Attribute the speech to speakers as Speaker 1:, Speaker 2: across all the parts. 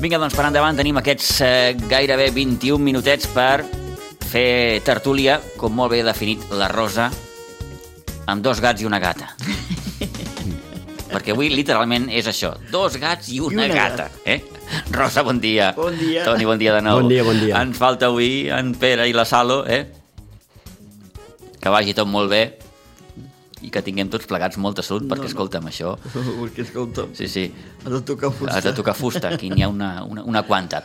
Speaker 1: mica doncs, per endavant tenim aquests eh, gairebé 21 minutets per fer tertúlia, com molt bé ha definit la Rosa, amb dos gats i una gata. Perquè avui literalment és això, dos gats i una,
Speaker 2: una
Speaker 1: gata. Eh? Rosa, bon dia.
Speaker 2: Bon dia.
Speaker 1: Toni, bon dia de nou.
Speaker 3: Bon dia, bon dia.
Speaker 1: Ens falta avui en Pere i la Salo, eh? que vagi tot molt bé i que tinguem tots plegats molta salut, perquè,
Speaker 2: no.
Speaker 1: escolta'm, això...
Speaker 2: Perquè, escolta'm,
Speaker 1: Sí, sí,
Speaker 2: has de tocar fusta.
Speaker 1: Has de tocar fusta, aquí n'hi ha una, una, una quanta.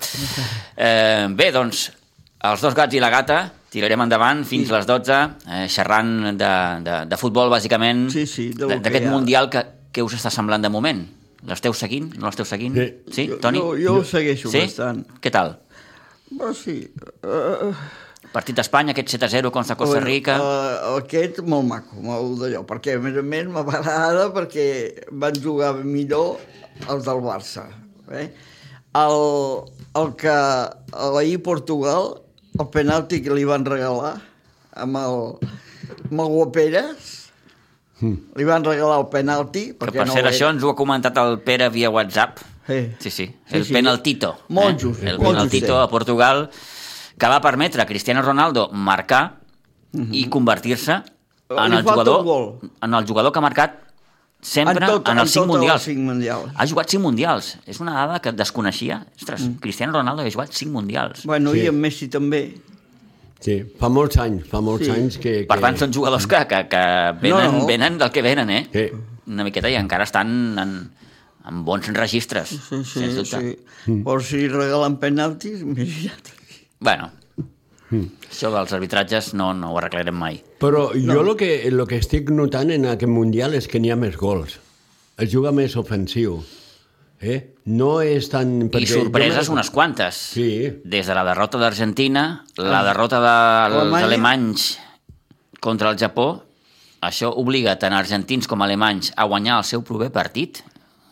Speaker 1: Eh, bé, doncs, els dos gats i la gata tirarem endavant fins a les 12, eh, xerrant de, de, de futbol, bàsicament,
Speaker 2: Sí, sí, de lo
Speaker 1: de-
Speaker 2: que
Speaker 1: d'aquest
Speaker 2: hi ha.
Speaker 1: mundial que, que us està semblant de moment. L'esteu seguint? No l'esteu seguint?
Speaker 3: Sí.
Speaker 1: sí?
Speaker 2: Jo-
Speaker 1: Toni?
Speaker 2: Jo, jo, ho segueixo
Speaker 1: sí?
Speaker 2: bastant.
Speaker 1: Què tal?
Speaker 2: Però sí... Uh,
Speaker 1: Partit d'Espanya, aquest 7-0 contra Costa Rica...
Speaker 2: Uh, aquest molt maco, molt d'allò, perquè a més a més m'agrada perquè van jugar millor els del Barça. Eh? El, el que a l'ahir Portugal, el penalti que li van regalar amb el, amb el Guaperes, li van regalar el penalti,
Speaker 1: Que
Speaker 2: perquè
Speaker 1: per
Speaker 2: no
Speaker 1: ser
Speaker 2: ho era.
Speaker 1: això ens ho ha comentat el Pere via WhatsApp.
Speaker 2: Sí.
Speaker 1: Sí, sí. El penaltito.
Speaker 2: Molt just,
Speaker 1: El
Speaker 2: molt
Speaker 1: penaltito
Speaker 2: just, eh?
Speaker 1: a Portugal que va permetre a Cristiano Ronaldo marcar i convertir-se
Speaker 2: Mhm. Oh, Li
Speaker 1: en el
Speaker 2: falta un
Speaker 1: jugador
Speaker 2: gol.
Speaker 1: en el jugador que ha marcat sempre en,
Speaker 2: tot-
Speaker 1: els 5
Speaker 2: tot
Speaker 1: mundials.
Speaker 2: cinc mundials.
Speaker 1: Ha jugat 5 mundials. És una dada que desconeixia. Ostres, Cristiano Ronaldo ha jugat 5 mundials.
Speaker 2: Mm. Bueno,
Speaker 3: Sí.
Speaker 2: i en Messi també.
Speaker 3: Sí, fa molts anys, fa molts
Speaker 2: Sí.
Speaker 3: anys que... que...
Speaker 1: Per tant, són jugadors que, que, que venen,
Speaker 2: eh, No, no.
Speaker 1: venen del que venen, eh?
Speaker 3: Sí.
Speaker 1: Una miqueta i encara estan en, en bons registres,
Speaker 2: Sí, sí,
Speaker 1: sens dubte.
Speaker 2: sí.
Speaker 1: Mm.
Speaker 2: Però si regalen penaltis, imagina't.
Speaker 1: Bueno,
Speaker 3: Hmm.
Speaker 1: això dels arbitratges no, no ho arreglarem mai.
Speaker 3: Però jo el que, lo que estic notant en aquest Mundial és que n'hi ha més gols. Es juga més ofensiu. Eh? No és tan...
Speaker 1: I sorpreses unes quantes.
Speaker 3: Sí. Ah.
Speaker 1: Des de la derrota d'Argentina, la derrota dels
Speaker 2: Alemanya.
Speaker 1: alemanys contra el Japó, això obliga tant argentins com alemanys a guanyar el seu proper partit,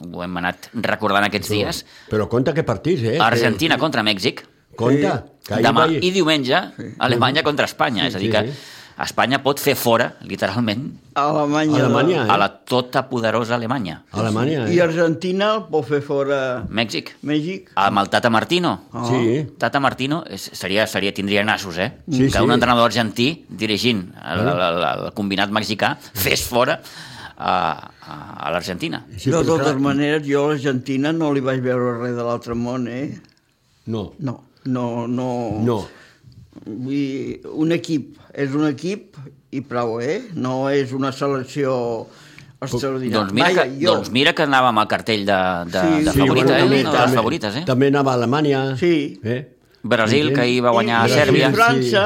Speaker 1: ho hem anat recordant aquests dies,
Speaker 3: Però compta que partís, eh?
Speaker 1: Argentina contra Mèxic,
Speaker 3: Que... Compta. Que ahir
Speaker 1: demà
Speaker 3: vaig-
Speaker 1: i diumenge, Alemanya contra Espanya, és a dir
Speaker 3: sí,
Speaker 1: que
Speaker 3: sí.
Speaker 1: Espanya pot fer fora, literalment,
Speaker 2: A Alemanya.
Speaker 3: Alemanya,
Speaker 1: a la tota poderosa Alemanya.
Speaker 3: Alemanya,
Speaker 2: I
Speaker 3: eh?
Speaker 2: Argentina el pot fer fora
Speaker 1: Mèxic.
Speaker 2: Mèxic.
Speaker 1: Amb el Tata Martino.
Speaker 3: Sí.
Speaker 1: Tata Martino és- seria, seria, tindria nassos, eh?
Speaker 3: Sí,
Speaker 1: que
Speaker 3: sí.
Speaker 1: un entrenador argentí dirigint el, el, el, el combinat mexicà fes fora a, a, a l'Argentina.
Speaker 3: Sí,
Speaker 2: de
Speaker 3: però
Speaker 2: totes
Speaker 3: clar,
Speaker 2: maneres, jo a l'Argentina no li vaig veure res de l'altre món, eh?
Speaker 3: No,
Speaker 2: No, no, no...
Speaker 3: no.
Speaker 2: Vull dir, un equip és un equip i prou, eh? No és una selecció extraordinària.
Speaker 1: Doncs mira,
Speaker 2: Vaja,
Speaker 1: que,
Speaker 2: jo...
Speaker 1: doncs mira que anava amb el cartell de, de,
Speaker 2: Sí,
Speaker 1: de
Speaker 2: sí,
Speaker 1: favorita, eh?
Speaker 2: bueno, també,
Speaker 1: Una de les
Speaker 2: també.
Speaker 1: favorites, eh?
Speaker 3: També anava a Alemanya.
Speaker 2: Sí.
Speaker 3: Eh?
Speaker 1: Brasil, que ahir va guanyar a
Speaker 2: I- i
Speaker 1: Sèrbia.
Speaker 2: França...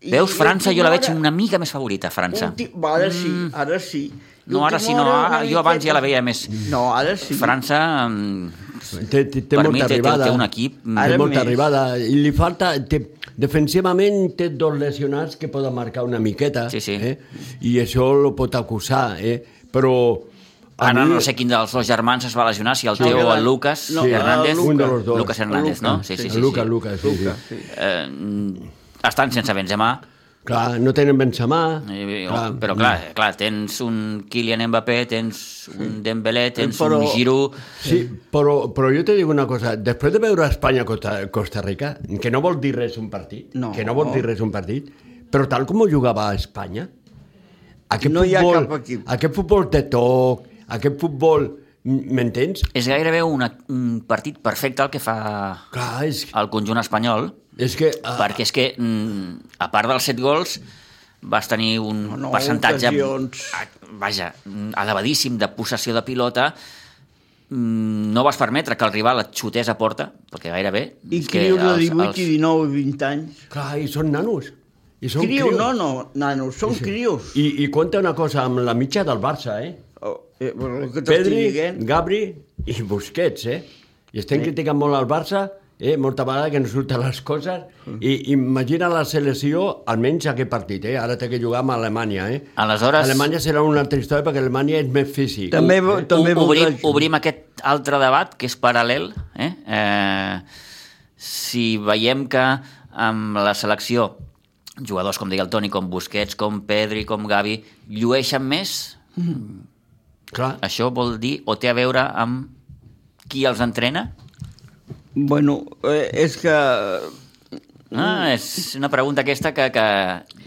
Speaker 2: i-
Speaker 1: Veus,
Speaker 2: i
Speaker 1: França jo la veig
Speaker 2: última
Speaker 1: una mica més favorita, França.
Speaker 2: Ulti... Va, Ara sí, ara sí.
Speaker 1: Mm. No, ara
Speaker 2: Última
Speaker 1: sí, no,
Speaker 2: hora una
Speaker 1: ara, jo abans ja la
Speaker 2: miqueta.
Speaker 1: veia més.
Speaker 2: No, ara sí.
Speaker 1: França, mm,
Speaker 3: Té, té, té
Speaker 1: per mi,
Speaker 3: molta
Speaker 1: té, té,
Speaker 3: arribada.
Speaker 1: té un equip... mm,
Speaker 2: Ara
Speaker 3: Ara té molta
Speaker 2: més.
Speaker 3: arribada. I li falta... Té, defensivament té dos lesionats que poden marcar una miqueta.
Speaker 1: Sí, sí.
Speaker 3: Eh? I això ho pot acusar. Eh? Però... a
Speaker 1: Ara
Speaker 3: mi-
Speaker 1: Ah, no sé quin dels dos germans es va lesionar, si el
Speaker 2: No,
Speaker 1: Teo
Speaker 2: que
Speaker 1: o
Speaker 2: va-
Speaker 1: el Lucas
Speaker 2: no,
Speaker 1: no, Hernández.
Speaker 2: el Lucas.
Speaker 3: Un de los dos.
Speaker 1: Lucas Hernández,
Speaker 2: El Lucas,
Speaker 1: no? Sí, sí,
Speaker 3: El
Speaker 1: sí.
Speaker 3: Lucas,
Speaker 1: sí.
Speaker 3: Lucas, sí,
Speaker 2: Lucas,
Speaker 3: sí.
Speaker 2: sí.
Speaker 1: Eh, mm, estan sense Benzema,
Speaker 3: Clar, no tenen Benzema.
Speaker 1: eh,
Speaker 3: Ah,
Speaker 1: clar. però clar, clar, tens un Kylian Mbappé, tens un Dembélé, tens
Speaker 2: Però-
Speaker 1: un Giroud...
Speaker 3: Sí, però, però jo te dic una cosa, després de veure Espanya Costa, Costa Rica, que no vol dir res un partit,
Speaker 2: No.
Speaker 3: que no vol dir res un partit, però tal com ho jugava a Espanya, aquest
Speaker 2: No hi ha
Speaker 3: futbol,
Speaker 2: cap equip.
Speaker 3: aquest futbol de toc, aquest futbol, m- m'entens?
Speaker 1: És gairebé una, un partit perfecte el que fa
Speaker 3: Clar, és,
Speaker 1: el conjunt espanyol,
Speaker 3: és que... ah,
Speaker 1: perquè és que, mm, a part dels set gols, vas tenir un
Speaker 2: No, no,
Speaker 1: percentatge...
Speaker 2: ocasions.
Speaker 1: a- Vaja, mm, elevadíssim de possessió de pilota, Mm, no vas permetre que el rival et xutés a porta, perquè gairebé...
Speaker 2: I
Speaker 1: és que
Speaker 2: crios de
Speaker 1: els-
Speaker 2: 18
Speaker 1: els-
Speaker 2: i 19 i 20 anys.
Speaker 3: Clar, i són nanos. I són
Speaker 2: Crios,
Speaker 3: crios.
Speaker 2: no, no, nanos, són crios.
Speaker 3: I, I compta una cosa, amb la mitja del Barça, eh?
Speaker 2: Oh, eh, però el que t'estic
Speaker 3: Pedri,
Speaker 2: dient-
Speaker 3: Gabri i Busquets, eh? I estem criticant molt al Barça, eh? Molta vegada que no surten les coses. I imagina la selecció, almenys aquest partit, eh? Ara té que jugar amb Alemanya, eh?
Speaker 1: Aleshores-
Speaker 3: Alemanya serà una altra història perquè Alemanya és més físic.
Speaker 2: També,
Speaker 3: Eh?
Speaker 2: vo- també
Speaker 1: O- obrim,
Speaker 2: voldrà-
Speaker 1: obrim aquest altre debat, que és paral·lel. Eh? Eh, si veiem que amb la selecció jugadors, com deia el Toni, com Busquets, com Pedri, com Gavi, llueixen més,
Speaker 3: Clar,
Speaker 1: això vol dir, o té a veure amb qui els entrena,
Speaker 2: Bueno, eh, és que...
Speaker 1: Ah, és una pregunta aquesta que, que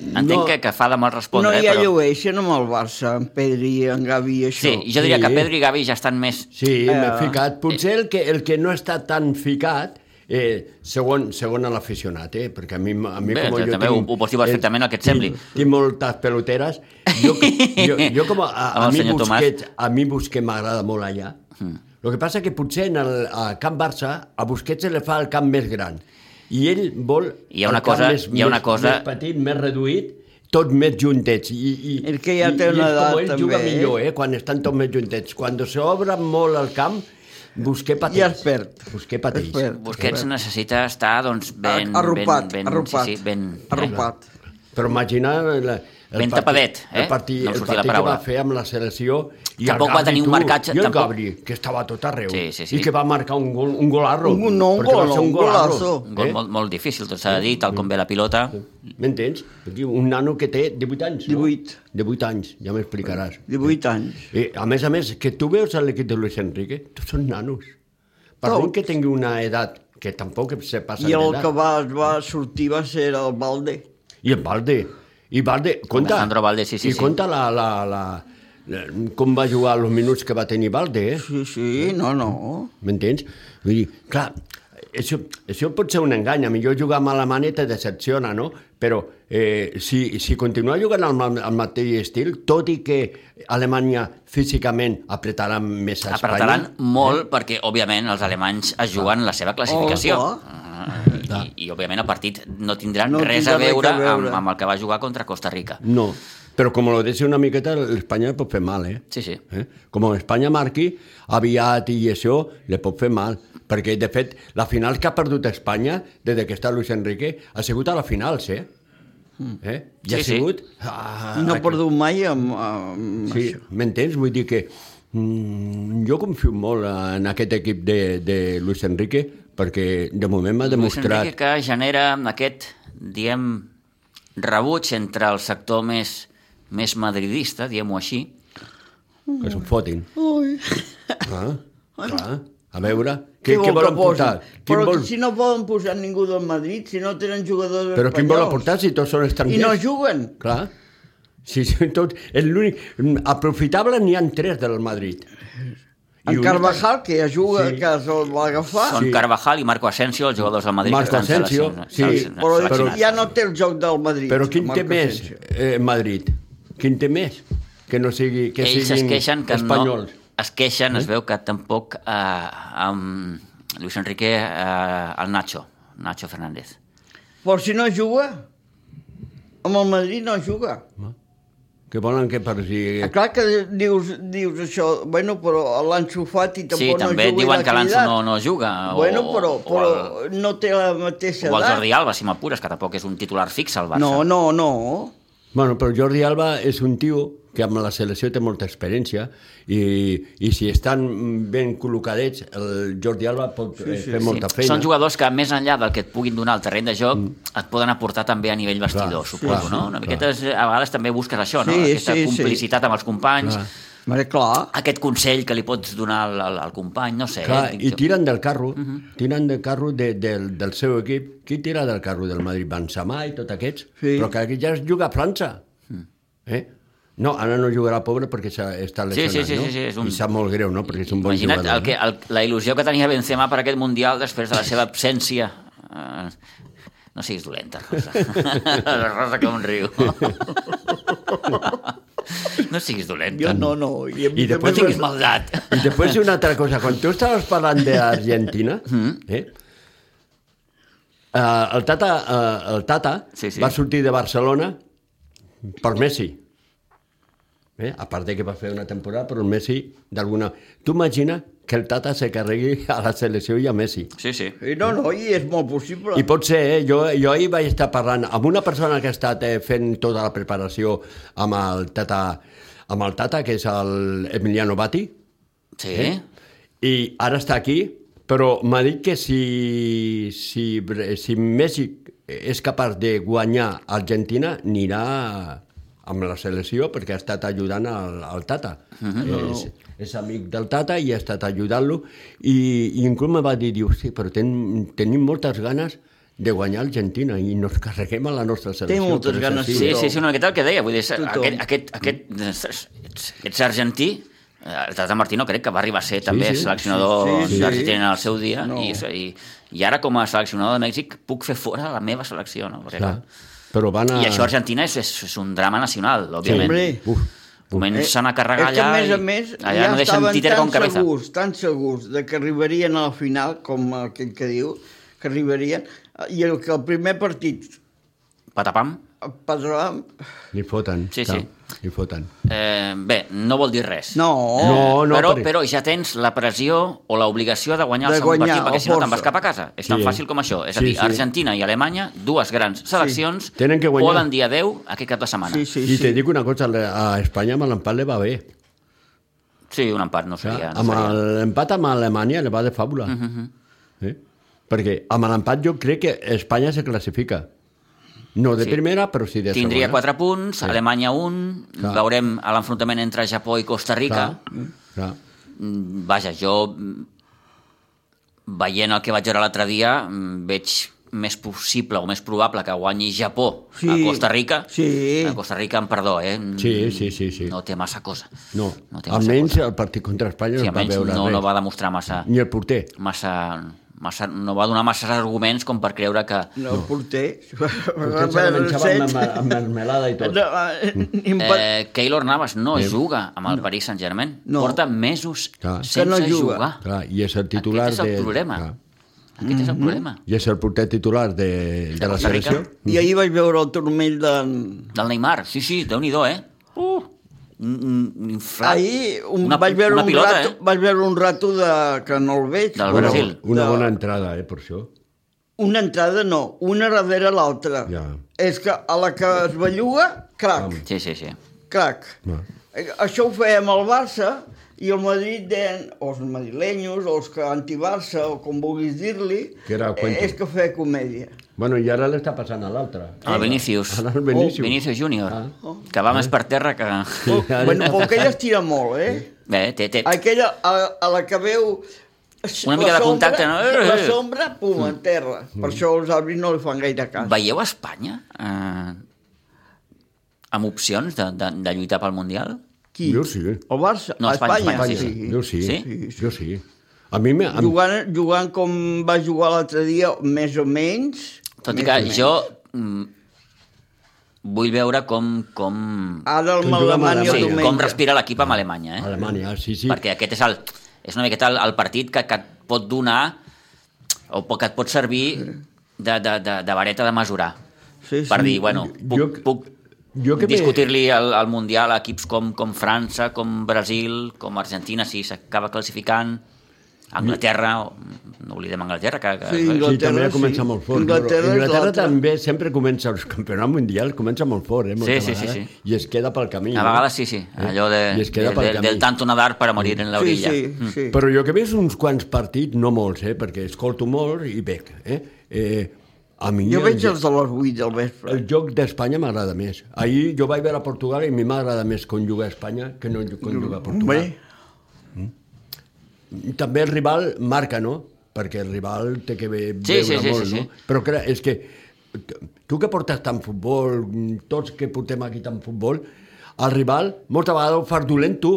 Speaker 1: entenc
Speaker 2: Mm. No.
Speaker 1: que, que fa de mal
Speaker 2: no
Speaker 1: respondre,
Speaker 2: hi
Speaker 1: eh,
Speaker 2: ha
Speaker 1: però...
Speaker 2: llueixen amb el Barça, en Pedri, en Gavi i això.
Speaker 1: Sí, jo diria
Speaker 3: Sí.
Speaker 1: que Pedro i Gavi ja estan més...
Speaker 3: Sí, m'he
Speaker 2: Eh,
Speaker 3: ficat. Potser el que, el que no està tan ficat, eh, segon, segon a l'aficionat, eh, perquè a mi, a mi
Speaker 1: Bé,
Speaker 3: com jo
Speaker 1: també ho,
Speaker 3: tinc...
Speaker 1: ho pots dir perfectament el que et sembli.
Speaker 3: Tinc moltes peloteres. Jo, jo, jo com a, a,
Speaker 1: Amb
Speaker 3: a,
Speaker 1: el
Speaker 3: mi
Speaker 1: senyor Tomàs.
Speaker 3: Busquets, a mi Busquets m'agrada molt allà. Mm. El que passa que potser en el, a Camp Barça a Busquets se li fa el camp més gran i ell vol
Speaker 1: Hi ha una
Speaker 3: el camp
Speaker 1: cosa-
Speaker 3: més,
Speaker 1: hi ha una
Speaker 3: més-
Speaker 1: cosa-
Speaker 3: més petit, més reduït, tot més juntets. I, i,
Speaker 2: El que ja
Speaker 3: i,
Speaker 2: té una
Speaker 3: i és com
Speaker 2: edat,
Speaker 3: ell
Speaker 2: també,
Speaker 3: juga
Speaker 2: eh?
Speaker 3: millor, eh? quan estan tots més juntets. Quan s'obre molt el camp, Busquets pateix.
Speaker 2: Ja es perd.
Speaker 3: Busquets pateix.
Speaker 2: Es perd.
Speaker 1: Busquets necessita estar, doncs, ben...
Speaker 2: arropat,
Speaker 1: ben, ben,
Speaker 2: arropat,
Speaker 1: Sí, sí, ben...
Speaker 2: arropat.
Speaker 3: Però imaginar... La, el
Speaker 1: Ben tapadet, eh?
Speaker 3: El partit,
Speaker 1: No em
Speaker 3: el
Speaker 1: sortia la
Speaker 3: partit que
Speaker 1: paraula.
Speaker 3: va fer amb la selecció... I
Speaker 1: Tampoc
Speaker 3: el
Speaker 1: va
Speaker 3: Gabri,
Speaker 1: tenir un
Speaker 3: tu,
Speaker 1: marcatge-
Speaker 3: I el
Speaker 1: tampoc-
Speaker 3: Gabri, que estava a tot arreu.
Speaker 1: Sí, sí, sí.
Speaker 3: I que va marcar un, gol, un golarro.
Speaker 2: Un- no, un
Speaker 3: perquè va
Speaker 2: gol,
Speaker 3: ser
Speaker 2: un golazo.
Speaker 1: Un
Speaker 3: Eh?
Speaker 1: gol molt, molt difícil, tot s'ha de dir, tal com ve la pilota.
Speaker 3: M'entens? Un nano que té 18 anys, no?
Speaker 2: 18.
Speaker 3: 18 anys, ja m'explicaràs.
Speaker 2: 18 anys.
Speaker 3: I, a més a més, que tu veus a l'equip de Luis Enrique, tots són nanos. Per
Speaker 2: Tots.
Speaker 3: molt que tingui una edat, que tampoc se passa
Speaker 2: I el
Speaker 3: d'edat.
Speaker 2: que va, va sortir va ser el Valde.
Speaker 3: I en Valde. I Valde, compta...
Speaker 1: Alejandro Valde, sí, sí,
Speaker 3: I
Speaker 1: sí.
Speaker 3: compta la, la, la, la, com va jugar els minuts que va tenir Valde, eh?
Speaker 2: Sí, sí, no, no.
Speaker 3: M'entens? Vull dir, clar, això, això pot ser un engany. A millor jugar malament te decepciona, no? Però eh, si, si continua jugant al, ma- al mateix estil, tot i que Alemanya físicament apretarà més a Espanya...
Speaker 1: Apretaran molt perquè, òbviament, els alemanys es juguen la seva classificació.
Speaker 2: Oh,
Speaker 1: Ah, I, I, òbviament, el partit no tindrà
Speaker 2: No
Speaker 1: no res
Speaker 2: tindrà
Speaker 1: a
Speaker 2: res a
Speaker 1: veure,
Speaker 2: veure.
Speaker 1: Amb, amb el que va jugar contra Costa Rica.
Speaker 3: No, però com lo deixi una miqueta, l'Espanya pot fer mal, eh?
Speaker 1: Sí, sí.
Speaker 3: Eh? Com Espanya marqui, aviat i això li pot fer mal. Perquè, de fet, la final que ha perdut Espanya, des de que està Luis Enrique, ha sigut a la final, sí. Eh?
Speaker 1: Sí,
Speaker 3: Ja ha
Speaker 1: sí.
Speaker 3: sigut... Ah,
Speaker 2: No ha perdut mai amb, amb
Speaker 3: Sí, m'entens? Vull dir que mm, jo confio molt en aquest equip de, de Luis Enrique perquè de moment m'ha
Speaker 1: Luis
Speaker 3: demostrat...
Speaker 1: Enrique que genera aquest, diem, rebuig entre el sector més, més madridista, diem-ho així,
Speaker 3: Que se'n fotin.
Speaker 2: Ui.
Speaker 3: Ah, clar. A veure,
Speaker 2: Què
Speaker 3: què, què
Speaker 2: vol que
Speaker 3: volen
Speaker 2: posi?
Speaker 3: portar? Quin
Speaker 2: Però
Speaker 3: vol...
Speaker 2: si no poden posar ningú del Madrid, si no tenen jugadors
Speaker 3: Però
Speaker 2: espanyols.
Speaker 3: quin vol aportar si tots són
Speaker 2: I
Speaker 3: estrangers?
Speaker 2: no juguen.
Speaker 3: Clar. Sí, sí, tot, és l'únic... Aprofitable n'hi han tres del Madrid.
Speaker 2: En
Speaker 3: un-
Speaker 2: Carvajal, que ja juga,
Speaker 3: Sí.
Speaker 2: sí. que se'l va agafar,
Speaker 1: Són
Speaker 3: Sí.
Speaker 1: Carvajal i Marco Asensio, els jugadors del Madrid. que
Speaker 3: Marco
Speaker 1: estan
Speaker 3: Asensio,
Speaker 1: seleccion-
Speaker 3: sí,
Speaker 1: seleccion-
Speaker 2: però, però
Speaker 1: seleccionats.
Speaker 2: ja no té el joc del Madrid.
Speaker 3: Però quin té
Speaker 2: Marco
Speaker 3: més
Speaker 2: Asensio.
Speaker 3: eh, Madrid? Quin té més? Que no sigui... Que
Speaker 1: Ells es
Speaker 3: siguin
Speaker 1: queixen que
Speaker 3: espanyols.
Speaker 1: no... Es queixen, es veu que tampoc eh, amb Luis Enrique eh, el Nacho, Nacho Fernández.
Speaker 2: Però si no juga, amb el Madrid no juga.
Speaker 3: Que volen que per si...
Speaker 2: Eh, Clar que dius, dius això, bueno, però l'Anso Fati tampoc
Speaker 1: sí,
Speaker 2: no
Speaker 1: també
Speaker 2: juga
Speaker 1: diuen
Speaker 2: i
Speaker 1: que
Speaker 2: l'ha
Speaker 1: l'Anso
Speaker 2: cridat.
Speaker 1: no, no juga.
Speaker 2: Bueno,
Speaker 1: o,
Speaker 2: però, però
Speaker 1: O el,
Speaker 2: no té la mateixa
Speaker 1: o el
Speaker 2: edat.
Speaker 1: Jordi Alba, si m'apures, que tampoc és un titular fix al Barça.
Speaker 2: No, no, no.
Speaker 3: Bueno, però Jordi Alba és un tio que amb la selecció té molta experiència i, i si estan ben col·locadets, el Jordi Alba pot sí, sí, fer molta feina.
Speaker 1: Són jugadors que, més enllà del que et puguin donar al terreny de joc, et poden aportar també a nivell vestidor,
Speaker 3: Clar,
Speaker 1: suposo,
Speaker 3: sí,
Speaker 1: no?
Speaker 3: sí,
Speaker 1: Una
Speaker 3: clar.
Speaker 1: miqueta, és- a vegades també busques això, no?
Speaker 2: Sí,
Speaker 1: Aquesta
Speaker 2: sí, sí.
Speaker 1: complicitat amb els companys,
Speaker 2: Vale, clar.
Speaker 1: aquest consell que li pots donar al, al, al company, no sé.
Speaker 3: Clar,
Speaker 1: eh?
Speaker 3: i tiren del carro, uh -huh.
Speaker 1: Mhm.
Speaker 3: tiren del carro de, del, del seu equip. Qui tira del carro del Madrid? Benzema i tots aquests?
Speaker 2: Sí.
Speaker 3: Però que aquí ja es juga a França.
Speaker 1: Hmm.
Speaker 3: Eh? No, ara no jugarà pobre perquè s'ha- està lesionat,
Speaker 1: sí, sí,
Speaker 3: no?
Speaker 1: sí, sí, és un-
Speaker 3: I sap molt greu, no? Perquè és un bon
Speaker 1: Imagina't
Speaker 3: jugador. eh?
Speaker 1: el que, el, la il·lusió que tenia Benzema per aquest Mundial després de la seva absència. Eh, no siguis dolenta, Rosa. La Rosa com un riu. No siguis dolenta.
Speaker 2: Jo no, no. I, a mi
Speaker 3: I
Speaker 1: No
Speaker 3: després
Speaker 2: també
Speaker 1: tinguis maldat.
Speaker 3: I després una altra cosa, quan tu estaves parlant d'Argentina,
Speaker 1: Mm-hmm.
Speaker 3: eh? eh, el Tata, eh, el tata
Speaker 1: Sí, sí.
Speaker 3: va sortir de Barcelona per Messi. Eh? A part de que va fer una temporada, però el Messi d'alguna... Tu imagina que el Tata se carregui a la selecció i a Messi.
Speaker 1: Sí, sí.
Speaker 2: I no, no, i és molt possible.
Speaker 3: I pot ser, eh? jo, jo ahir vaig estar parlant amb una persona que ha estat eh, fent tota la preparació amb el Tata, amb el tata que és el Emiliano Bati,
Speaker 1: Sí?
Speaker 3: Eh? I ara està aquí, però m'ha dit que si, si, si Messi és capaç de guanyar Argentina, anirà amb la selecció perquè ha estat ajudant al, al Tata. Uh
Speaker 1: Mhm.
Speaker 3: -huh. és, és amic del Tata i ha estat ajudant-lo. I, I inclús me va dir, diu, sí, però ten, tenim moltes ganes de guanyar Argentina i nos carreguem a la nostra selecció.
Speaker 2: Té moltes
Speaker 3: però és
Speaker 2: ganes,
Speaker 3: així".
Speaker 1: Sí,
Speaker 2: Tothom.
Speaker 1: sí, sí, una miqueta el que deia. Vull dir, és-
Speaker 2: Tothom.
Speaker 1: aquest, aquest, aquest, ets, ets argentí, eh, el Tata Martino crec que va arribar a ser també
Speaker 3: sí,
Speaker 1: seleccionador
Speaker 2: sí, sí, sí.
Speaker 1: d'Argentina en el seu dia
Speaker 2: No.
Speaker 1: i, i, i ara com a seleccionador de Mèxic puc fer fora la meva selecció no? Perquè,
Speaker 3: Clar, però van a...
Speaker 1: i això a Argentina és, és, és un drama nacional òbviament
Speaker 2: Hombre. eh,
Speaker 3: Uf,
Speaker 1: comencen a carregar
Speaker 2: és que,
Speaker 1: allà
Speaker 2: a més a
Speaker 1: i
Speaker 2: més,
Speaker 1: allà
Speaker 2: ja
Speaker 1: no deixen
Speaker 2: estaven
Speaker 1: títere
Speaker 2: tan
Speaker 1: com cabeza
Speaker 2: segurs, tan segurs de que arribarien a la final, com aquell que diu, que arribarien, i el que el primer partit
Speaker 1: patapam
Speaker 2: Pedram...
Speaker 3: li foten.
Speaker 1: Sí,
Speaker 3: clar,
Speaker 1: sí.
Speaker 3: Li foten.
Speaker 1: eh, bé, no vol dir res
Speaker 2: No,
Speaker 3: No, no,
Speaker 1: però,
Speaker 3: perquè-
Speaker 1: però ja tens la pressió o l'obligació de guanyar el
Speaker 2: De
Speaker 1: segon
Speaker 2: guanyar,
Speaker 1: partit, perquè
Speaker 2: o
Speaker 1: si no te'n
Speaker 2: força.
Speaker 1: vas cap a casa. És tan
Speaker 3: Sí.
Speaker 1: fàcil com això. És a
Speaker 3: Sí,
Speaker 1: dir,
Speaker 3: sí.
Speaker 1: Argentina i Alemanya, dues grans seleccions,
Speaker 3: Tenen que guanyar.
Speaker 1: poden dir adeu aquest cap de setmana.
Speaker 2: sí,
Speaker 1: Sí,
Speaker 2: sí,
Speaker 3: I
Speaker 2: sí.
Speaker 3: te dic una cosa, a Espanya amb l'empat li va bé.
Speaker 1: un empat no
Speaker 3: Clar,
Speaker 1: seria... No
Speaker 3: amb
Speaker 1: seria. Mhm,
Speaker 3: l'empat amb Alemanya li va de fàbula. Uh -huh. eh? Perquè amb l'empat jo crec que Espanya se classifica. No de
Speaker 1: Sí.
Speaker 3: sí. primera, però sí de
Speaker 1: Tindria
Speaker 3: segona.
Speaker 1: quatre punts, sí. Alemanya un,
Speaker 3: Clar.
Speaker 1: veurem a l'enfrontament entre Japó i Costa Rica.
Speaker 3: Clar, clar.
Speaker 1: Mm, Vaja, jo mm, veient el que vaig veure l'altre dia mm, veig més possible o més probable que guanyi Japó
Speaker 2: Sí.
Speaker 1: a Costa Rica.
Speaker 2: Sí.
Speaker 1: A Costa Rica, em perdó, eh?
Speaker 3: Sí, sí, sí, sí.
Speaker 1: No té massa cosa.
Speaker 3: No,
Speaker 1: no té massa
Speaker 3: almenys el partit contra Espanya
Speaker 1: Sí,
Speaker 3: no es va
Speaker 1: almenys
Speaker 3: veure
Speaker 1: no,
Speaker 3: res.
Speaker 1: no va demostrar massa,
Speaker 3: Ni el porter.
Speaker 1: massa, massa... No va donar massa arguments com per creure que...
Speaker 2: No, el porter...
Speaker 3: Potser se la menjava amb, marme- amb mermelada i tot.
Speaker 2: No, eh, impa-
Speaker 1: Eh, Keylor Navas no juga amb el Paris Saint-Germain.
Speaker 2: No.
Speaker 1: Porta mesos
Speaker 3: Clar.
Speaker 1: sense
Speaker 2: Que no juga.
Speaker 1: jugar.
Speaker 3: Clar, I és el titular
Speaker 1: Aquest és el
Speaker 3: de...
Speaker 1: problema.
Speaker 3: Clar.
Speaker 1: Aquest
Speaker 2: Mhm.
Speaker 1: és el problema.
Speaker 3: I és el porter titular de, de la
Speaker 1: Costa Rica.
Speaker 3: selecció.
Speaker 2: I ahir vaig veure el turmell de...
Speaker 1: Del Neymar, sí, sí, déu nhi eh? Uh, un- un inflat.
Speaker 2: Ahir un,
Speaker 1: Una-
Speaker 2: vaig, veure
Speaker 1: una
Speaker 2: un
Speaker 1: pilota,
Speaker 2: rato,
Speaker 1: eh?
Speaker 2: vaig veure un rato de, que no el veig.
Speaker 1: Del
Speaker 2: però-
Speaker 3: Una,
Speaker 1: Brasil.
Speaker 3: una
Speaker 2: de-
Speaker 3: bona entrada, eh, per això.
Speaker 2: Una entrada no, una darrere l'altra.
Speaker 3: Ja.
Speaker 2: És que a la que es belluga, crac,
Speaker 1: Sí, sí, sí.
Speaker 2: crac.
Speaker 3: Va.
Speaker 2: Eh, Això ho fèiem al Barça i el Madrid deien, o els madrilenyos, o els que anti-Barça, o com vulguis dir-li,
Speaker 3: Que era el
Speaker 2: eh,
Speaker 3: cuento.
Speaker 2: és que feia comèdia.
Speaker 3: Bueno, i ara l'està passant a l'altre.
Speaker 1: El Ah, Vinicius. Oh,
Speaker 3: Ara el Vinicius.
Speaker 1: Vinicius Júnior,
Speaker 3: Ah.
Speaker 1: que va més per terra que...
Speaker 2: Però,
Speaker 3: ara-
Speaker 2: bueno, però aquella es tira molt, eh?
Speaker 1: Bé, té, té.
Speaker 2: Aquella a, a la que veu...
Speaker 1: Una
Speaker 2: la
Speaker 1: mica de contacte, no? Eh, eh.
Speaker 2: La sombra, pum, en terra.
Speaker 3: Mm.
Speaker 2: Per això els àrbits no li fan gaire cas.
Speaker 1: Veieu Espanya eh, amb opcions de, de, de lluitar pel Mundial?
Speaker 2: Qui?
Speaker 3: Jo sí.
Speaker 2: El Barça?
Speaker 1: No,
Speaker 2: a
Speaker 1: Espanya,
Speaker 2: Espanya,
Speaker 1: Espanya,
Speaker 2: sí.
Speaker 3: Jo sí.
Speaker 1: Sí?
Speaker 3: Jo sí. A mi... me- A... mi-
Speaker 2: jugant, jugant com va jugar l'altre dia, més o menys...
Speaker 1: Tot i
Speaker 2: més
Speaker 1: que
Speaker 2: o menys.
Speaker 1: jo mm, vull veure com, com,
Speaker 2: Ara Ah, el
Speaker 3: Que juga amb
Speaker 2: Malamanya
Speaker 3: Alemanya.
Speaker 1: sí,
Speaker 2: diumenge.
Speaker 1: com respira l'equip amb Alemanya. Eh?
Speaker 3: Alemanya, Ah, sí, sí.
Speaker 1: Perquè aquest és, el, és una miqueta el, el partit que, que et pot donar o po- que et pot servir de, de, de, de vareta de mesurar.
Speaker 2: Sí,
Speaker 1: per
Speaker 2: sí.
Speaker 1: dir, bueno, puc,
Speaker 3: Jo-
Speaker 1: puc
Speaker 3: jo que me-
Speaker 1: discutir-li el, el Mundial a equips com, com França, com Brasil, com Argentina, si s'acaba classificant, Anglaterra, o, no oblidem Anglaterra, que, que
Speaker 2: Sí, Inglaterra,
Speaker 3: Sí, també ha
Speaker 2: sí.
Speaker 3: començat molt fort.
Speaker 2: Inglaterra
Speaker 3: però
Speaker 2: és
Speaker 3: Inglaterra
Speaker 2: l'altra.
Speaker 3: també sempre comença, els campionats mundials comença molt fort, eh? moltes
Speaker 1: Sí, sí, sí,
Speaker 3: vegades,
Speaker 1: sí.
Speaker 3: I es queda pel camí.
Speaker 1: a
Speaker 3: no? Eh?
Speaker 1: vegades sí, sí, allò de,
Speaker 3: I
Speaker 1: de,
Speaker 3: es queda pel
Speaker 1: de,
Speaker 3: camí.
Speaker 1: del tanto nadar per a morir en Mm. l'orilla.
Speaker 2: Sí, sí, sí.
Speaker 3: Però jo que he vist uns quants partits, no molts, eh? perquè escolto molt i bec. Eh? Eh, a mi
Speaker 2: Jo
Speaker 3: el
Speaker 2: veig
Speaker 3: jo-
Speaker 2: els de les 8 del vespre.
Speaker 3: el joc d'Espanya m'agrada més. Ahir jo vaig veure a Portugal i a mi m'agrada més com juga a Espanya que no com juga a
Speaker 1: Mm.
Speaker 2: Bé,
Speaker 3: Portugal. I També el rival marca, no? Perquè el rival té que ve,
Speaker 1: Sí,
Speaker 3: veure
Speaker 1: sí, sí,
Speaker 3: molt,
Speaker 1: sí, sí.
Speaker 3: no? Però clar, és que tu que portes tant futbol, tots que portem aquí tant futbol, el rival molta vegada ho fas dolent tu.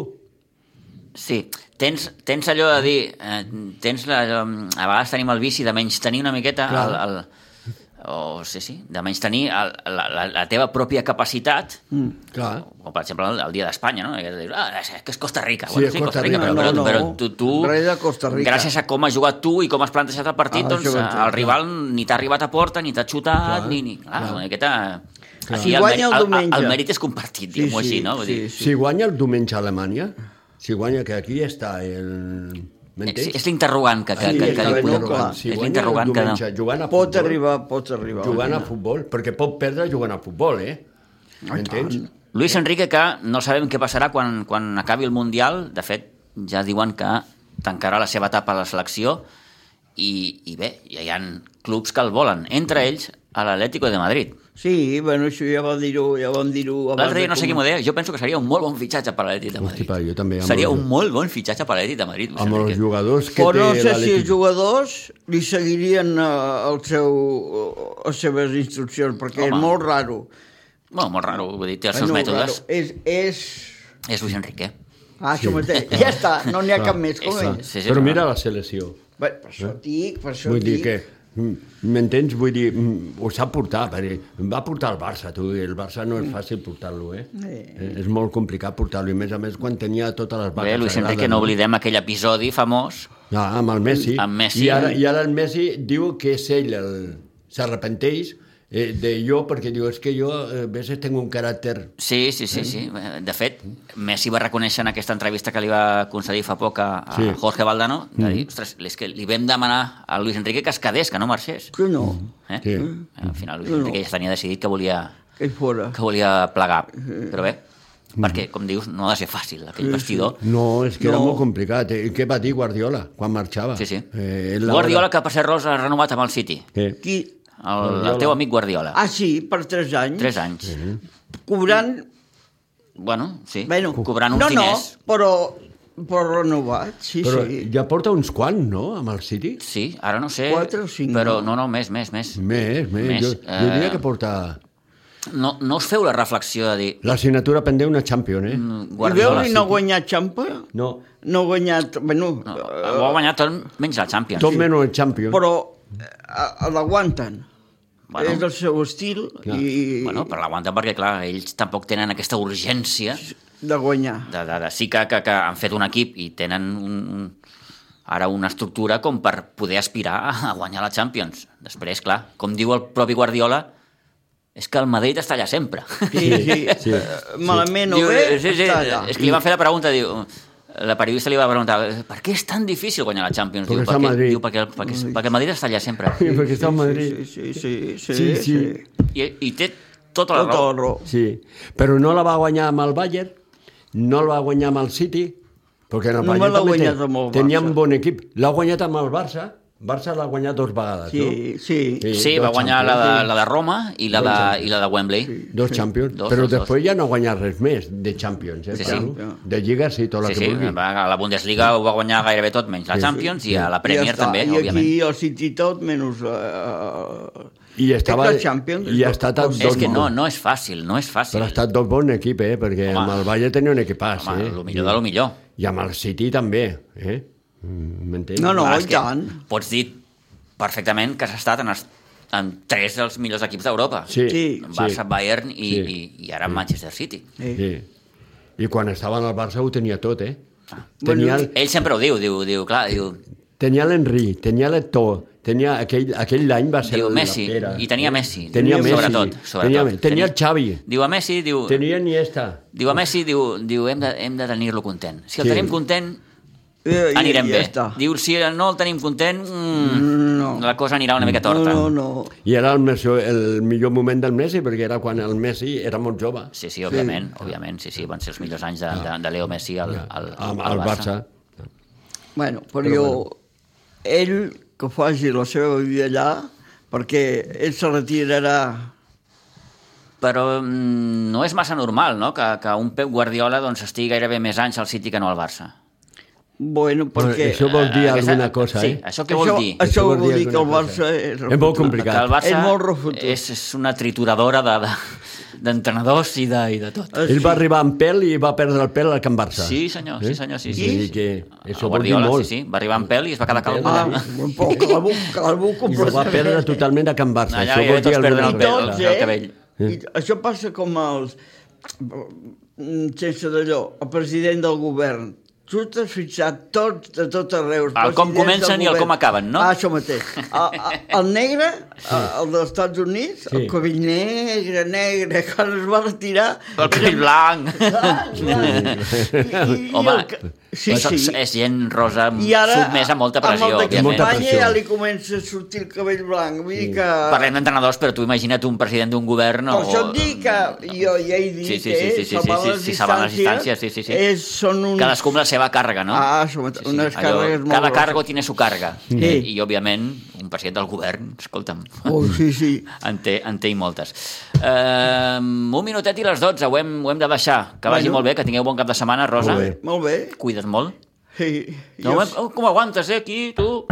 Speaker 1: Sí, tens, tens allò de dir... Eh, tens la, allò- a vegades tenim el vici de menys tenir una miqueta el,
Speaker 3: Clar.
Speaker 1: el, o sí, sí, de menys tenir el, la, la, la teva pròpia capacitat mm.
Speaker 3: Clar.
Speaker 1: com per exemple el, el dia d'Espanya, no? Que dius, ah, és, que és Costa Rica.
Speaker 3: Sí,
Speaker 1: bueno,
Speaker 3: és
Speaker 1: sí,
Speaker 3: Costa
Speaker 1: Costa Rica,
Speaker 3: Rica,
Speaker 1: però,
Speaker 2: no,
Speaker 1: però,
Speaker 2: no.
Speaker 1: però tu, tu
Speaker 2: Res de Costa Rica.
Speaker 1: gràcies a com has jugat tu i com has plantejat el partit,
Speaker 2: Ah,
Speaker 1: ah, doncs
Speaker 2: això ho entenc,
Speaker 1: el rival ni t'ha arribat a porta, ni t'ha xutat,
Speaker 3: Clar,
Speaker 1: ni... ni clar,
Speaker 3: clar.
Speaker 1: una miqueta...
Speaker 2: Si
Speaker 1: el,
Speaker 2: guanya el
Speaker 1: mèrit- el,
Speaker 2: diumenge.
Speaker 1: el, mèrit és compartit,
Speaker 2: Sí,
Speaker 1: diguem-ho
Speaker 2: sí,
Speaker 1: així, no? Vull dir,
Speaker 2: sí,
Speaker 3: Si guanya el diumenge a Alemanya, si guanya que aquí està el...
Speaker 1: És,
Speaker 3: M'entens?
Speaker 1: és l'interrogant que, que,
Speaker 3: Sí,
Speaker 1: que, que,
Speaker 3: està
Speaker 1: li
Speaker 3: ben
Speaker 1: podem
Speaker 2: clar.
Speaker 1: posar.
Speaker 2: Sí,
Speaker 3: Si
Speaker 1: és
Speaker 3: guanya el
Speaker 1: l'interrogant que no.
Speaker 3: diumenge Jugant a
Speaker 2: pot
Speaker 3: futbol,
Speaker 2: arribar, pot arribar.
Speaker 3: Jugant a futbol, perquè pot perdre jugant a futbol, eh? M'entens?
Speaker 1: Luis Enrique, que no sabem què passarà quan, quan acabi el Mundial. De fet, ja diuen que tancarà la seva etapa a la selecció. I, i bé, ja hi ha clubs que el volen. Entre ells, a l'Atlético de Madrid.
Speaker 2: Sí, bueno, això ja vam dir-ho ja vam dir
Speaker 1: L'altre dia no sé qui m'ho deia, jo penso que seria un molt bon fitxatge per a l'Atlètic de Madrid.
Speaker 3: Hosti, pa, jo també, amb
Speaker 1: seria
Speaker 3: el-
Speaker 1: un molt bon fitxatge per a l'Atlètic de Madrid. Luis
Speaker 3: Amb els
Speaker 1: Enrique.
Speaker 3: jugadors que
Speaker 2: Però no
Speaker 3: té
Speaker 2: sé si els
Speaker 3: l'Atlètic.
Speaker 2: jugadors li seguirien eh, el seu, eh, les seves instruccions, perquè
Speaker 1: Home.
Speaker 2: és molt raro.
Speaker 1: Bueno, molt raro, vull dir, té els seus
Speaker 2: Ai, no,
Speaker 1: mètodes.
Speaker 2: raro. És, és...
Speaker 1: És Luis Enrique.
Speaker 2: Ah, això mateix. Ja està, no n'hi ha cap més com
Speaker 1: Clar.
Speaker 2: ell.
Speaker 1: Sí, sí,
Speaker 3: Però
Speaker 1: clar.
Speaker 3: mira la selecció.
Speaker 2: Bé, per això
Speaker 1: Eh?
Speaker 2: dic, per això
Speaker 3: Vull dir
Speaker 2: dic.
Speaker 3: que, mm, m'entens? Vull dir, mm, ho sap portar, perquè va portar el Barça, tu, i el Barça no és fàcil portar-lo, eh? eh? És molt complicat portar-lo, i més a més quan tenia totes les vaques
Speaker 1: Bé, Luis Enrique,
Speaker 3: sagrades,
Speaker 1: no oblidem aquell episodi famós.
Speaker 3: Ah, amb el Messi.
Speaker 1: Amb Messi.
Speaker 3: I ara, I ara el Messi diu que és ell el... S'arrepenteix eh, de jo, perquè diu, és que jo eh, a vegades tengo un caràcter...
Speaker 1: Sí, sí, sí,
Speaker 2: Eh?
Speaker 1: sí. Eh, De fet, Messi va reconèixer en aquesta entrevista que li va concedir fa poc a, a
Speaker 3: Sí.
Speaker 1: Jorge Valdano, de
Speaker 2: Mm.
Speaker 1: dir, ostres, és que li vam demanar a Luis Enrique que es quedés, que no marxés.
Speaker 2: Que no,
Speaker 1: Eh?
Speaker 3: Sí.
Speaker 1: Al final, Luis Enrique ja tenia decidit que volia,
Speaker 2: que hi fora.
Speaker 1: que volia plegar.
Speaker 2: Eh.
Speaker 1: Però bé,
Speaker 2: Mm.
Speaker 1: perquè, com dius, no ha de ser fàcil, aquell vestidor.
Speaker 3: No, és que no. era
Speaker 2: No.
Speaker 3: molt complicat. Eh? Què va dir Guardiola quan marxava?
Speaker 1: Sí, sí.
Speaker 3: Eh, ell la-
Speaker 1: Guardiola, que per ser rosa ha renovat amb el City.
Speaker 3: Eh,
Speaker 2: Qui...
Speaker 1: El, el teu amic Guardiola.
Speaker 2: Ah, sí, per 3 anys.
Speaker 1: 3 anys.
Speaker 2: Cobrant...
Speaker 1: Bueno, sí,
Speaker 2: Bueno,
Speaker 1: cobrant uns
Speaker 2: no,
Speaker 1: diners.
Speaker 2: No, però, però renovat, sí,
Speaker 3: Però
Speaker 2: sí.
Speaker 3: ja porta uns quants, no?, amb el City?
Speaker 1: Sí, ara no sé.
Speaker 2: Quatre o cinc,
Speaker 1: Però no,
Speaker 2: no?
Speaker 1: no, més, més, més.
Speaker 3: Més, més.
Speaker 1: Més,
Speaker 3: més jo, jo
Speaker 1: eh,
Speaker 3: diria que porta...
Speaker 1: No, no us feu la reflexió de dir...
Speaker 3: L'assignatura pendent una Champions, eh? Mm.
Speaker 1: Guardiola,
Speaker 2: I veus, i no ha guanyat Champa?
Speaker 3: No,
Speaker 2: No ha guanyat... Bueno, eh,
Speaker 1: No,
Speaker 2: no.
Speaker 1: ho ha guanyat tot menys la Champions.
Speaker 3: tot sí. menys el Champions.
Speaker 2: però eh, l'aguanten.
Speaker 1: Bueno.
Speaker 2: Bueno. És el seu estil
Speaker 3: Clar.
Speaker 2: i
Speaker 1: Bueno, però l'aguanta perquè, clar, ells tampoc tenen aquesta urgència
Speaker 2: de guanyar.
Speaker 1: de, de, de sí que, que, que han fet un equip i tenen un, un, ara una estructura com per poder aspirar a guanyar la Champions. Després, clar, com diu el propi Guardiola, és que el Madrid està allà sempre.
Speaker 2: Sí, sí.
Speaker 3: sí.
Speaker 2: sí. eh, Malament o
Speaker 1: diu, eh,
Speaker 2: bé,
Speaker 1: sí, sí,
Speaker 2: està allà.
Speaker 1: és que li van fer la pregunta, diu, la periodista li va preguntar per què és tan difícil guanyar la Champions? diu,
Speaker 3: Perquè està a
Speaker 1: perquè,
Speaker 3: Madrid."
Speaker 1: diu, perquè, el- perquè, perquè el Madrid està allà sempre.
Speaker 3: Sí, perquè està a Madrid.
Speaker 2: Sí, sí, sí. sí,
Speaker 3: Sí,
Speaker 2: sí,
Speaker 3: sí.
Speaker 2: sí.
Speaker 1: I, i té tota la
Speaker 2: Tot
Speaker 1: raó.
Speaker 2: el raó.
Speaker 3: Sí, però no la va guanyar amb el Bayern, no la va guanyar amb el City, perquè en el
Speaker 2: No
Speaker 3: Bayern
Speaker 2: l'ha
Speaker 3: també
Speaker 2: guanyat
Speaker 3: ten-
Speaker 2: amb el
Speaker 3: tenia
Speaker 2: Barça.
Speaker 3: un bon equip. L'ha guanyat amb el Barça, Barça l'ha guanyat dos vegades,
Speaker 2: Sí,
Speaker 3: no?
Speaker 2: sí.
Speaker 1: Sí, va
Speaker 3: dos
Speaker 1: guanyar la
Speaker 3: Champions.
Speaker 1: de, la de Roma i la de, i la de Wembley.
Speaker 3: Dos Champions,
Speaker 1: Dos,
Speaker 3: però
Speaker 1: dos, dos.
Speaker 3: després ja no ha guanyat res més de Champions, eh?
Speaker 1: Sí,
Speaker 3: parlo.
Speaker 2: sí.
Speaker 3: De Lliga sí, tot
Speaker 1: Sí,
Speaker 3: la que
Speaker 1: sí,
Speaker 3: vulgui.
Speaker 1: va, a la Bundesliga ho va guanyar gairebé tot, menys la Champions i a la Premier
Speaker 2: està.
Speaker 1: també,
Speaker 2: I aquí
Speaker 1: òbviament.
Speaker 2: el City tot, menys... Eh,
Speaker 3: I estava...
Speaker 2: És la Champions,
Speaker 3: I ha
Speaker 2: dos-
Speaker 3: estat
Speaker 2: dos-
Speaker 1: És que no, no és fàcil, no és fàcil.
Speaker 3: Però ha estat dos bon equip, eh? Perquè
Speaker 1: Home.
Speaker 3: amb el Bayern tenia un equipàs,
Speaker 1: Home,
Speaker 3: eh?
Speaker 1: el millor de lo millor.
Speaker 3: I amb el City també, eh? Mm, M'entens?
Speaker 2: No, no,
Speaker 1: Clar, és
Speaker 2: i
Speaker 1: que
Speaker 2: tant.
Speaker 1: Pots dir perfectament que has estat en, els, en tres dels millors equips d'Europa.
Speaker 3: Sí, sí.
Speaker 2: Sí.
Speaker 1: Barça, Bayern i,
Speaker 3: Sí.
Speaker 1: i, i ara Manchester City.
Speaker 2: eh,
Speaker 3: sí. I quan estava en el Barça ho tenia tot, eh?
Speaker 1: Ah.
Speaker 3: Tenia,
Speaker 2: Bueno, eh.
Speaker 3: el-
Speaker 1: Ell sempre ho diu, diu, diu clar, diu,
Speaker 3: tenia l'Enri, tenia l'Eto'o, tenia aquell, aquell any va ser
Speaker 1: diu
Speaker 3: el
Speaker 1: Messi,
Speaker 3: la pera.
Speaker 1: i tenia Messi,
Speaker 3: Tenia Messi,
Speaker 1: sobretot. sobretot.
Speaker 3: Tenia, tenia el Xavi,
Speaker 1: Diu a Messi, diu,
Speaker 3: tenia Iniesta.
Speaker 1: Diu a Messi, diu, diu hem de, hem de tenir-lo content. Si el
Speaker 3: Sí.
Speaker 1: tenim content,
Speaker 2: eh,
Speaker 1: anirem
Speaker 2: ja,
Speaker 1: bé.
Speaker 2: Ja està.
Speaker 1: Diu, si no el tenim content, mm,
Speaker 2: No.
Speaker 1: la cosa anirà una mica torta.
Speaker 2: No, no, no.
Speaker 3: I era el, meso, el millor moment del Messi, perquè era quan el Messi era molt jove.
Speaker 1: Sí, sí, òbviament, sí. òbviament, sí, sí, van ser els millors anys de, de, de Leo Messi al, al,
Speaker 3: Amb
Speaker 1: al
Speaker 3: el Barça.
Speaker 2: Bueno, però, però jo... Ell que faci la seva vida allà, perquè ell se retirarà
Speaker 1: Però mm, no és massa normal, no?, que, que un Pep Guardiola doncs, estigui gairebé més anys al City que no al Barça.
Speaker 2: Bueno, perquè...
Speaker 3: Això vol dir
Speaker 1: Aquesta-
Speaker 3: alguna cosa,
Speaker 1: sí,
Speaker 3: eh?
Speaker 1: Això què vol
Speaker 2: això,
Speaker 1: dir?
Speaker 2: Això vol dir que el
Speaker 3: alguna cosa.
Speaker 2: Barça és...
Speaker 3: És molt complicat.
Speaker 1: Que el Barça
Speaker 2: És molt refotut.
Speaker 1: és, és una trituradora de- de- d'entrenadors de, i, de, i de tot.
Speaker 2: Eh,
Speaker 3: Ell
Speaker 2: sí.
Speaker 3: va arribar amb pèl i va perdre el pèl al Can Barça.
Speaker 1: Sí, senyor, sí, senyor, sí, sí.
Speaker 3: Vull dir que això
Speaker 1: El
Speaker 3: vol dir
Speaker 1: Guardiola,
Speaker 3: molt.
Speaker 1: Sí, sí, va arribar en pèl i es va quedar calb.
Speaker 2: Ah,
Speaker 1: allà.
Speaker 2: un poc, que la buc, que la buc
Speaker 3: I ho va
Speaker 2: completament.
Speaker 3: perdre totalment a Can Barça.
Speaker 1: Allà
Speaker 3: això
Speaker 1: gairebé
Speaker 3: vol dir
Speaker 1: tots perden
Speaker 3: alguna
Speaker 1: el pèl,
Speaker 3: cosa.
Speaker 2: Tots,
Speaker 1: doncs, el cabell.
Speaker 2: Doncs, eh? I això passa com els... mm, Sense d'allò, el president del govern. Tu t'has fixat tots de tot arreu. els
Speaker 1: El Ah, com
Speaker 2: presidents
Speaker 1: comencen
Speaker 2: del
Speaker 1: i el
Speaker 2: govern.
Speaker 1: com acaben, no?
Speaker 2: Ah, això mateix. El, el- el negre, el dels Estats Units,
Speaker 3: Sí.
Speaker 2: el cabell negre, negre, quan es va retirar...
Speaker 1: El cabell blanc.
Speaker 2: Ah, clar. I- i
Speaker 1: Home,
Speaker 2: el que- sí,
Speaker 1: però
Speaker 2: sí.
Speaker 1: és gent rosa
Speaker 2: I ara,
Speaker 1: sotmesa a molta pressió,
Speaker 2: amb el de
Speaker 1: òbviament.
Speaker 3: Molta
Speaker 2: campanya
Speaker 3: pressió.
Speaker 2: ja li comença a sortir el cabell blanc. Vull dir que...
Speaker 1: Parlem d'entrenadors, però tu imagina't un president d'un govern o...
Speaker 2: Per això Doncs et dic que jo ja he dit
Speaker 1: Sí, sí, sí,
Speaker 2: que
Speaker 1: sí, sí,
Speaker 2: salvant
Speaker 1: sí, sí,
Speaker 2: les
Speaker 1: sí, salvant les
Speaker 2: distàncies,
Speaker 1: distàncies, sí, sí, sí.
Speaker 2: És, són uns...
Speaker 1: Cadascú amb la seva càrrega, no?
Speaker 2: Ah, som, unes
Speaker 1: Allò,
Speaker 2: càrregues molt
Speaker 1: cada
Speaker 2: grosses.
Speaker 1: cargo tiene su carga. I, I, òbviament, un president del govern, escolta'm.
Speaker 2: Oh, sí, sí.
Speaker 1: En té, en té i moltes. Uh, un minutet i les 12, ho hem, ho hem de deixar. Que vagi
Speaker 2: Bueno.
Speaker 1: molt bé, que tingueu bon cap de setmana, Rosa.
Speaker 3: Molt bé.
Speaker 2: Molt bé.
Speaker 1: Cuida't molt.
Speaker 2: Sí.
Speaker 1: No,
Speaker 2: Jo-
Speaker 1: jo... oh, com aguantes, eh, aquí, tu?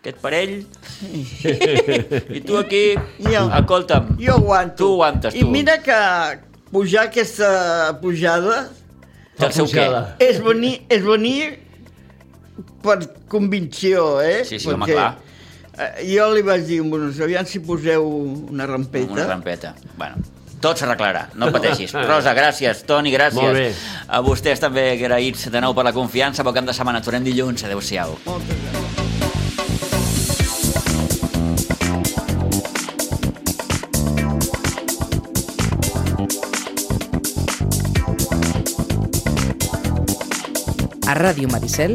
Speaker 1: Aquest parell... I tu aquí...
Speaker 2: Jo.
Speaker 1: Escolta'm.
Speaker 2: Jo aguanto.
Speaker 1: Tu aguantes,
Speaker 2: I
Speaker 1: tu.
Speaker 2: mira que pujar aquesta pujada
Speaker 1: Del seu què?
Speaker 3: Pujada.
Speaker 2: és venir, és venir per convicció, eh?
Speaker 1: Sí, sí, home, clar.
Speaker 2: eh, jo li vaig dir, bueno, aviam si poseu una rampeta.
Speaker 1: Una rampeta. Bueno, tot s'arreglarà, no pateixis. Rosa, gràcies. Toni, gràcies.
Speaker 3: Molt bé.
Speaker 1: A vostès també agraïts de nou per la confiança. Bon cap de setmana. Tornem dilluns. Adéu-siau.
Speaker 2: Moltes gràcies.
Speaker 4: A Ràdio Maricel,